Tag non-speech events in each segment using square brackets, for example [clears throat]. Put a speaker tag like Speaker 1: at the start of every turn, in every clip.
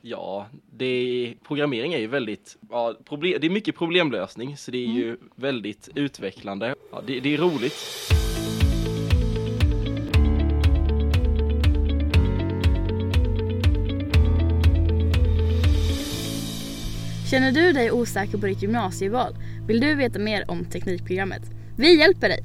Speaker 1: Ja, det är, programmering är ju väldigt, ja, problem, det är mycket problemlösning så det är ju
Speaker 2: Mm.
Speaker 1: väldigt utvecklande. Ja, det, det är roligt.
Speaker 3: Känner du dig osäker på ditt gymnasieval? Vill du veta mer om Teknikprogrammet? Vi hjälper dig!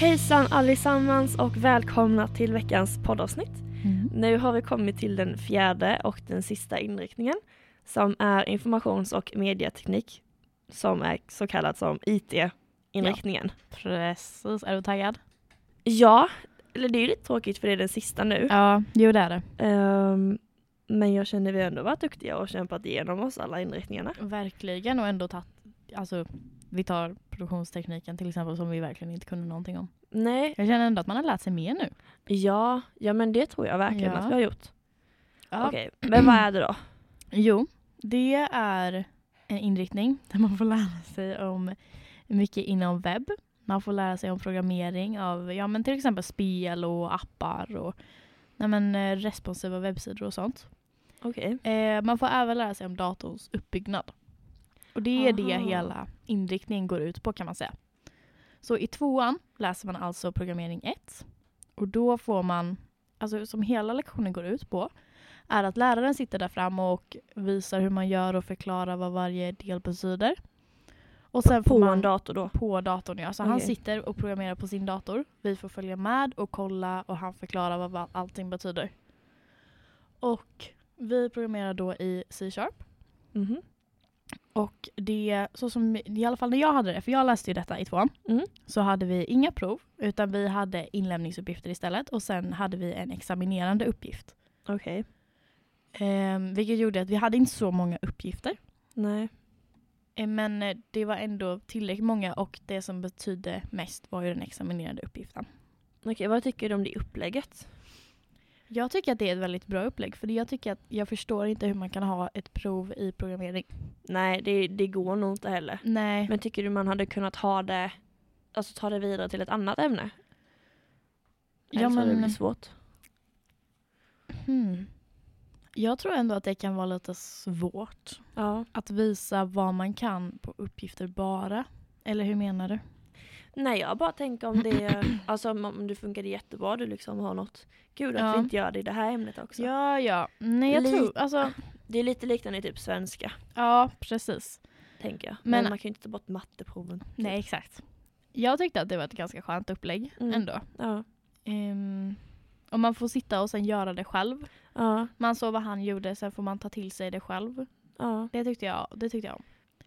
Speaker 4: Hejsan allesammans och välkomna till veckans poddavsnitt.
Speaker 5: Mm.
Speaker 4: Nu har vi kommit till den fjärde och den sista inriktningen som är informations och medieteknik som är så kallad som IT-inriktningen.
Speaker 5: Precis, är du taggad?
Speaker 4: Ja. eller det är ju lite tråkigt för det är den sista nu.
Speaker 5: Ja, jo det är det.
Speaker 4: Ehm, men jag känner vi har ändå varit duktiga och kämpat igenom oss alla inriktningarna.
Speaker 5: Verkligen och ändå tagit, alltså vi tar produktionstekniken till exempel som vi verkligen inte kunde någonting om.
Speaker 4: Nej,
Speaker 5: Jag känner ändå att man har lärt sig mer nu.
Speaker 4: ja, ja men det tror jag verkligen
Speaker 5: Ja.
Speaker 4: att vi har gjort. Okej, men vad är det då?
Speaker 5: Jo, det är en inriktning [laughs] där man får lära sig om mycket inom webb. Man får lära sig om programmering av ja, men till exempel spel och appar och nej, men, eh, responsiva webbsidor och sånt.
Speaker 4: Okej.
Speaker 5: Eh, man får även lära sig om datorns uppbyggnad. Och det är det
Speaker 4: Aha.
Speaker 5: hela inriktningen går ut på kan man säga. Så i tvåan läser man alltså programmering 1. Och då får man, alltså som hela lektionen går ut på, är att läraren sitter där fram och visar hur man gör och förklarar vad varje del betyder. Och sen får
Speaker 4: På
Speaker 5: man
Speaker 4: en dator då?
Speaker 5: på datorn ja. Så han
Speaker 4: Okej.
Speaker 5: sitter och programmerar på sin dator. Vi får följa med och kolla och han förklarar vad- vad allting betyder. Och vi programmerar då i C-sharp.
Speaker 4: Mhm.
Speaker 5: Och det, så som, i alla fall när jag hade det, för jag läste ju detta i tvåan,
Speaker 4: Mm.
Speaker 5: så hade vi inga prov utan vi hade inlämningsuppgifter istället och sen hade vi en examinerande uppgift.
Speaker 4: Okej.
Speaker 5: Ehm, vilket gjorde att vi hade inte så många uppgifter.
Speaker 4: Nej.
Speaker 5: Eh, Men eh, det var ändå tillräckligt många och det som betydde mest var ju den examinerande uppgiften.
Speaker 4: Okej, vad tycker du om det upplägget?
Speaker 5: Jag tycker att det är ett väldigt bra upplägg för jag tycker att jag förstår inte hur man kan ha ett prov i programmering.
Speaker 4: Nej, det, det går nog inte heller.
Speaker 5: Nej.
Speaker 4: Men tycker du man hade kunnat ha det, alltså ta det vidare till ett annat ämne?
Speaker 5: ja,
Speaker 4: Eller så hade det
Speaker 5: men,
Speaker 4: blir svårt.
Speaker 5: hmm. Jag tror ändå att det kan vara lite svårt
Speaker 4: Ja.
Speaker 5: att visa vad man kan på uppgifter bara. Eller hur menar du?
Speaker 4: Nej, jag bara tänker om [clears throat] det, alltså om- om det funkade jättebra, du liksom har något. Gud att
Speaker 5: Ja.
Speaker 4: vi inte gör det i det här ämnet också.
Speaker 5: Ja, ja. Nej, jag
Speaker 4: Lite.
Speaker 5: tror... Alltså,
Speaker 4: Det är lite liknande typ svenska,
Speaker 5: ja, precis.
Speaker 4: tänker jag. Men,
Speaker 5: Men-
Speaker 4: man kan ju inte ta bort matteproven.
Speaker 5: Nej, exakt. Jag tyckte att det var ett ganska skönt upplägg
Speaker 4: Mm.
Speaker 5: ändå.
Speaker 4: Ja.
Speaker 5: Ehm, och man får sitta och sen göra det själv.
Speaker 4: Ja.
Speaker 5: Man såg vad han gjorde, sen får man ta till sig det själv.
Speaker 4: Ja.
Speaker 5: Det tyckte jag, det tyckte jag om.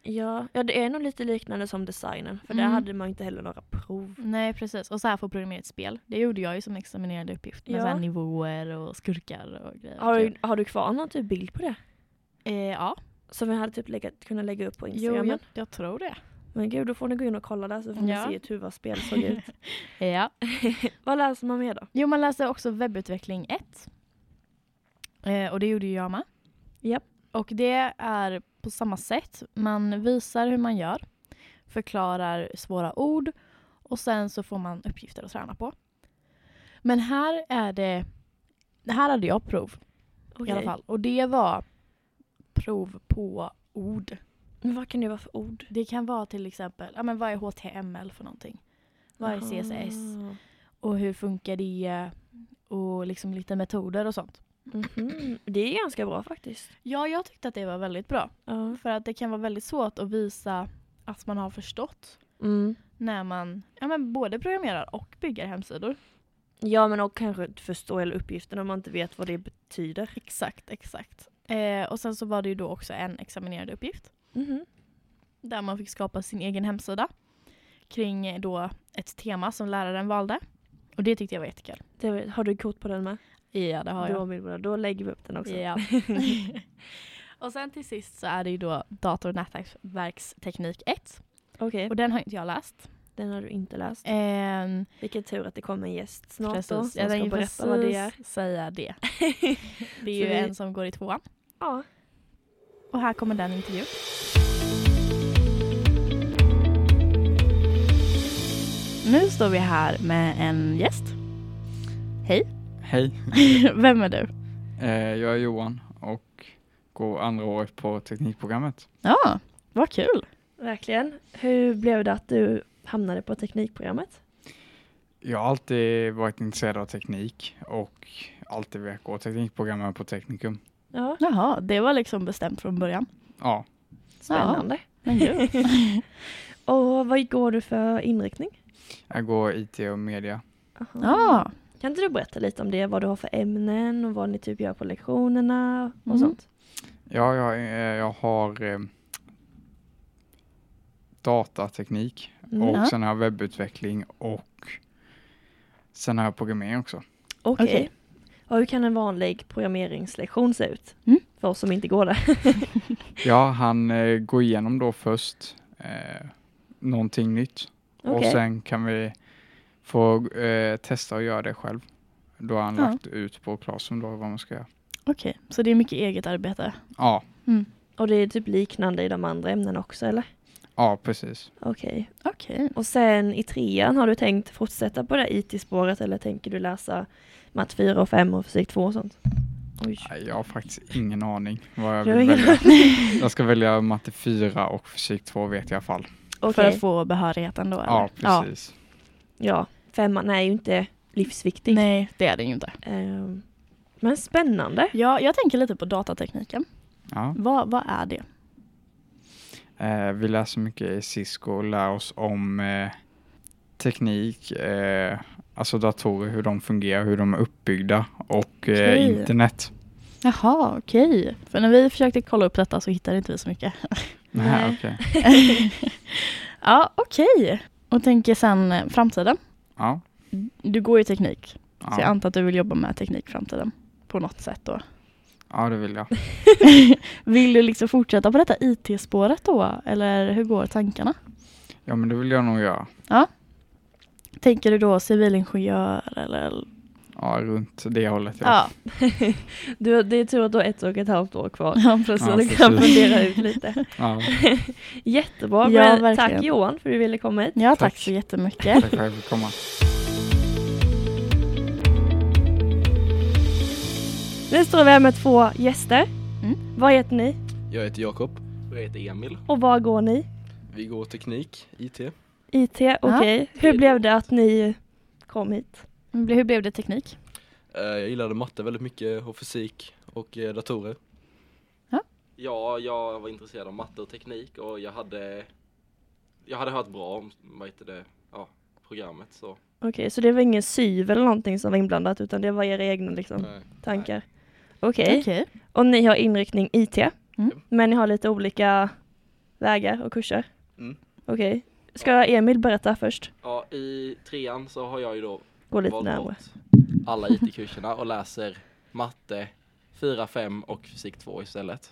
Speaker 4: Ja. ja, det är nog lite liknande som designen. För där
Speaker 5: Mm.
Speaker 4: hade man inte heller några prov.
Speaker 5: Nej, precis. Och så här får programmera ett spel. Det gjorde jag ju som examinerande uppgift. Med
Speaker 4: Ja.
Speaker 5: så här nivåer och skurkar och grejer.
Speaker 4: Har du, har du kvar någon typ bild på det?
Speaker 5: Eh, ja,
Speaker 4: Som vi hade typ legat, kunnat lägga upp på
Speaker 5: jo,
Speaker 4: Instagram.
Speaker 5: jag, jag tror det.
Speaker 4: Men gud, då får ni gå in och kolla där så får ni
Speaker 5: Ja.
Speaker 4: se hur vårt spel såg
Speaker 5: [laughs]
Speaker 4: ut.
Speaker 5: Eh, Ja.
Speaker 4: Vad läser man mer då?
Speaker 5: Jo, man läste också webbutveckling 1. Eh, och det gjorde ju jag med.
Speaker 4: Japp.
Speaker 5: Och det är på samma sätt. Man visar hur man gör, förklarar svåra ord och sen så får man uppgifter att träna på. Men här är det... Här hade jag prov i alla
Speaker 4: Okej.
Speaker 5: fall. Och det var prov på ord.
Speaker 4: Men vad kan det vara för ord?
Speaker 5: Det kan vara till exempel, ja men vad är HTML för någonting? Vad är CSS?
Speaker 4: Ah.
Speaker 5: Och hur funkar det? Och liksom lite metoder och sånt.
Speaker 4: Mhm. Det är ganska bra faktiskt.
Speaker 5: Ja, jag tyckte att det var väldigt bra.
Speaker 4: Ja.
Speaker 5: För att det kan vara väldigt svårt att visa att man har förstått
Speaker 4: Mm.
Speaker 5: när man ja, men både programmerar och bygger hemsidor.
Speaker 4: Ja men och kanske inte förstå hela uppgiften om man inte vet vad det betyder.
Speaker 5: Exakt, exakt. Eh, och sen så var det ju då också en examinerande uppgift
Speaker 4: Mhm.
Speaker 5: där man fick skapa sin egen hemsida kring eh, då ett tema som läraren valde. Och det tyckte jag var jättekul.
Speaker 4: Det, var- har du kort på den med?
Speaker 5: Ja, det har jag.
Speaker 4: Då, vill vi- då lägger vi upp den också.
Speaker 5: [laughs] Ja. och sen till sist så är det ju då dator och nätverksteknik 1.
Speaker 4: Okej,
Speaker 5: Och den har inte jag läst.
Speaker 4: den har du inte läst.
Speaker 5: Ehm,
Speaker 4: Vilken tur att det kommer en gäst snart då,
Speaker 5: precis,
Speaker 4: som
Speaker 5: jag
Speaker 4: ska
Speaker 5: tänkte
Speaker 4: berätta
Speaker 5: precis
Speaker 4: vad det är.
Speaker 5: säga [laughs] det. Det är
Speaker 4: Så
Speaker 5: ju
Speaker 4: vi-
Speaker 5: en som går i tvåan.
Speaker 4: Ja,
Speaker 5: Och här kommer den intervjun. Nu står vi här med en gäst. Hej, [laughs]
Speaker 6: Hej,
Speaker 5: vem är du?
Speaker 6: eh, jag är Johan och går andra året på teknikprogrammet.
Speaker 5: Ja, vad kul.
Speaker 4: verkligen. Hur blev det att du hamnade på teknikprogrammet?
Speaker 6: Jag har alltid varit intresserad av teknik och alltid velat gå teknikprogrammet på Teknikum.
Speaker 4: Ja,
Speaker 5: Jaha, det var liksom bestämt från början.
Speaker 6: Ja,
Speaker 4: spännande.
Speaker 5: Men gud. [laughs]
Speaker 4: Och vad går du för inriktning?
Speaker 6: jag går IT och media.
Speaker 4: Aha.
Speaker 5: Ja,
Speaker 4: Kan inte du berätta lite om det, vad du har för ämnen och vad ni typ gör på lektionerna och
Speaker 5: Mhm.
Speaker 4: sånt?
Speaker 6: Ja, jag, eh, jag har eh, datateknik
Speaker 4: Mm.
Speaker 6: och
Speaker 5: Ja.
Speaker 6: sen har jag webbutveckling och sen har jag programmering också.
Speaker 4: Okej.
Speaker 5: Okej.
Speaker 4: Och hur kan en vanlig programmeringslektion se ut?
Speaker 5: Mm.
Speaker 4: För oss som inte går där.
Speaker 6: Ja, han eh, går igenom då först eh, någonting nytt Och
Speaker 4: Okej.
Speaker 6: sen kan vi få eh, testa att göra det själv. Då har han
Speaker 5: Ja.
Speaker 6: lagt ut på Classroom då vad man ska göra.
Speaker 5: okej. Så det är mycket eget arbete.
Speaker 6: Ja,
Speaker 4: Och det är typ liknande i de andra ämnena också eller?
Speaker 6: ja precis.
Speaker 4: Okej.
Speaker 5: Okej.
Speaker 4: Och sen i trean, har du tänkt fortsätta på det här IT-spåret eller tänker du läsa matte 4 och 5 och fysik 2 och sånt? Oj.
Speaker 6: Nej, Jag har faktiskt ingen aning vad jag
Speaker 4: Du har
Speaker 6: vill
Speaker 4: ingen
Speaker 5: [laughs]
Speaker 6: välja.
Speaker 4: aning.
Speaker 6: Jag ska välja matte 4 och fysik 2 vet jag i alla fall.
Speaker 5: För
Speaker 4: Okej.
Speaker 5: att få behörigheten då?
Speaker 6: Ja,
Speaker 5: eller?
Speaker 6: precis.
Speaker 4: Ja, femman är ju inte livsviktig.
Speaker 5: Nej, det är det ju inte.
Speaker 4: Ehm, men spännande.
Speaker 5: Ja, jag tänker lite på datatekniken.
Speaker 6: Ja.
Speaker 5: Vad, vad är det?
Speaker 6: Eh, vi läser mycket i Cisco och lär oss om eh, teknik, eh, alltså datorer, hur de fungerar, hur de är uppbyggda och eh,
Speaker 5: Okej.
Speaker 6: internet.
Speaker 5: Jaha, okej. För när vi försökte kolla upp detta så hittade inte vi så mycket.
Speaker 6: Nej, okej.
Speaker 5: Ja, okej. Och tänker sen eh, framtiden.
Speaker 6: Ja,
Speaker 5: Du går ju teknik, så jag
Speaker 6: ja.
Speaker 5: antar att du vill jobba med teknik i framtiden på något sätt då.
Speaker 6: ja, det vill jag.
Speaker 5: Vill du liksom fortsätta på detta IT-spåret då, eller hur går tankarna?
Speaker 6: Ja, men det vill jag nog göra.
Speaker 5: Tänker du då civilingenjör eller?
Speaker 6: Ja, runt det hållet. Ja.
Speaker 5: Ja,
Speaker 4: Du, det är tur att du har ett och ett halvt år kvar.
Speaker 5: ja [laughs] precis.
Speaker 4: Så
Speaker 6: Ja,
Speaker 4: du kan
Speaker 6: precis.
Speaker 4: fundera ut lite.
Speaker 6: Ja.
Speaker 4: Jättebra.
Speaker 5: Ja,
Speaker 4: men
Speaker 5: verkligen.
Speaker 4: tack Johan för att du ville komma hit.
Speaker 5: Ja, tack,
Speaker 6: Tack.
Speaker 5: så jättemycket.
Speaker 6: [laughs] Tack för att jag fick komma.
Speaker 4: Nu står vi här med två gäster.
Speaker 5: Mm.
Speaker 4: Vad heter ni
Speaker 1: Jag heter Jakob. Och jag heter Emil.
Speaker 4: och var går ni?
Speaker 1: Vi går teknik, IT.
Speaker 4: IT, okej. Hur blev det att ni kom hit?
Speaker 5: Hur blev det teknik?
Speaker 2: Eh, Jag gillade matte väldigt mycket och fysik och eh, datorer.
Speaker 1: Ja, jag var intresserad av matte och teknik och jag hade, jag hade hört bra om, vad heter det, ja, programmet så.
Speaker 4: Okej, så det var ingen syv eller någonting som var inblandat utan det var era egna liksom,
Speaker 2: Nej.
Speaker 4: tankar? Okej,
Speaker 5: Okej.
Speaker 6: Eh?
Speaker 4: och ni har inriktning IT,
Speaker 5: Mm.
Speaker 4: men ni har lite olika vägar och kurser?
Speaker 2: Mm.
Speaker 4: Okej, ska Emil berätta först?
Speaker 1: Ja, i trean så har jag ju då
Speaker 4: Gå lite
Speaker 1: valt
Speaker 4: närmare.
Speaker 1: bort alla IT-kurserna och läser matte 4, 5 och fysik 2 istället.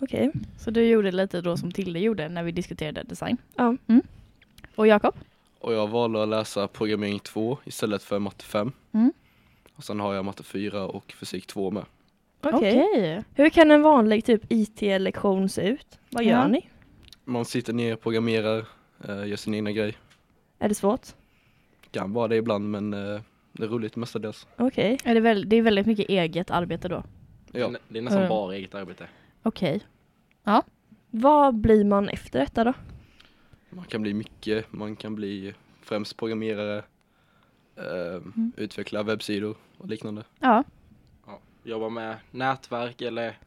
Speaker 4: Okej,
Speaker 5: Så du gjorde lite då som Tilde gjorde när vi diskuterade design.
Speaker 4: Ja.
Speaker 5: Mm. Och Jakob?
Speaker 2: Och jag valde att läsa programmering 2 istället för matte 5.
Speaker 5: Mm.
Speaker 2: Och sen har jag matte 4 och fysik 2 med.
Speaker 4: okej. Hur kan en vanlig typ IT-lektion se ut? Vad gör
Speaker 5: Ja.
Speaker 4: ni?
Speaker 2: Man sitter ner, programmerar, eh, gör sin egna grej.
Speaker 4: Är det svårt?
Speaker 2: Kan vara det ibland men eh, det är roligt mestadels.
Speaker 4: Okej,
Speaker 5: Är det, väl, det är väldigt mycket eget arbete då.
Speaker 2: Ja.
Speaker 1: Det är nä- Det är nästan
Speaker 5: Mm.
Speaker 1: bara eget arbete.
Speaker 5: Okej.
Speaker 4: vad blir man efter detta då?
Speaker 2: Man kan bli mycket, man kan bli främst programmerare, eh, utveckla webbsidor och liknande.
Speaker 5: Ja.
Speaker 1: Ja. Jobba med nätverk eller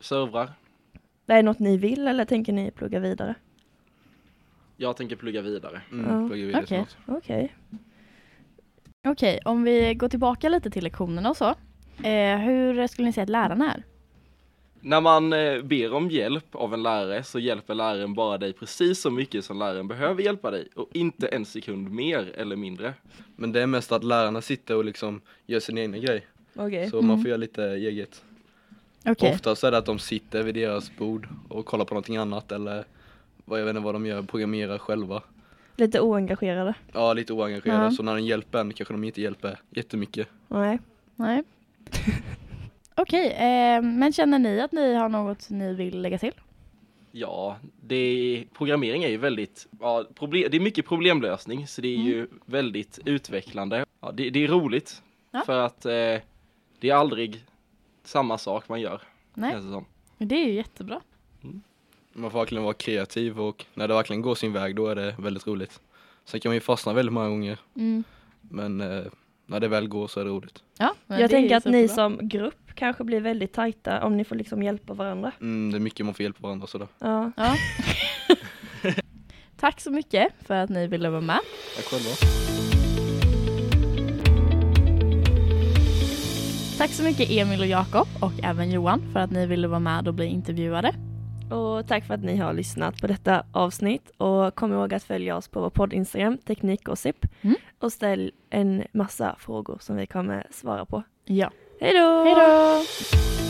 Speaker 1: servrar.
Speaker 4: Det är något ni vill eller tänker ni plugga vidare?
Speaker 1: Jag tänker plugga vidare.
Speaker 2: Mm,
Speaker 4: Ja.
Speaker 2: plugga vidare
Speaker 5: Okej.
Speaker 2: snart.
Speaker 4: Okej.
Speaker 5: Okej, om vi går tillbaka lite till lektionerna och så. Eh, hur skulle ni säga att lärarna är?
Speaker 1: När man eh, ber om hjälp av en lärare så hjälper läraren bara dig precis så mycket som läraren behöver hjälpa dig och inte en sekund mer eller mindre.
Speaker 2: Men det är mest att lärarna sitter och liksom gör sin egna grej.
Speaker 4: Okej.
Speaker 2: Så man får göra lite eget.
Speaker 5: Mm. Okej.
Speaker 2: Oftast är det att de sitter vid deras bord och kollar på någonting annat eller vad jag vet inte vad de gör, programmerar själva.
Speaker 4: Lite oengagerade.
Speaker 2: Ja, lite oengagerade.
Speaker 5: Ja.
Speaker 2: Så när de hjälper en kanske de inte hjälper jättemycket.
Speaker 4: Nej.
Speaker 5: Nej. [laughs] Okej, eh, men känner ni att ni har något ni vill lägga till?
Speaker 1: Ja, det är, programmering är ju väldigt, ja, proble- det är mycket problemlösning så det är ju
Speaker 5: Mm.
Speaker 1: väldigt utvecklande. Ja, det, det är roligt
Speaker 5: Ja.
Speaker 1: för att eh, det är aldrig samma sak man gör.
Speaker 5: Nej.
Speaker 1: känns det som.
Speaker 5: Det är ju jättebra.
Speaker 2: Man får verkligen vara kreativ och när det verkligen går sin väg då är det väldigt roligt. Sen kan man ju fastna väldigt många gånger
Speaker 5: Mm.
Speaker 2: men eh, när det väl går så är det roligt.
Speaker 5: Ja, men
Speaker 4: jag
Speaker 5: det är
Speaker 4: tänker
Speaker 5: ju
Speaker 4: att ni
Speaker 5: superbra.
Speaker 4: som grupp kanske blir väldigt tajta om ni får liksom hjälpa varandra.
Speaker 2: Mm, det är mycket man får hjälpa varandra och sådär.
Speaker 4: Ja.
Speaker 5: Ja. Tack så mycket för att ni ville vara med.
Speaker 2: Tack själva.
Speaker 5: Tack så mycket Emil och Jakob och även Johan för att ni ville vara med och bli intervjuade.
Speaker 4: Och tack för att ni har lyssnat på detta avsnitt och kom ihåg att följa oss på vår podd Instagram, Teknikgossip
Speaker 5: Mm.
Speaker 4: och ställ en massa frågor som vi kommer svara på.
Speaker 5: Ja.
Speaker 4: Hej då!
Speaker 5: Hej då!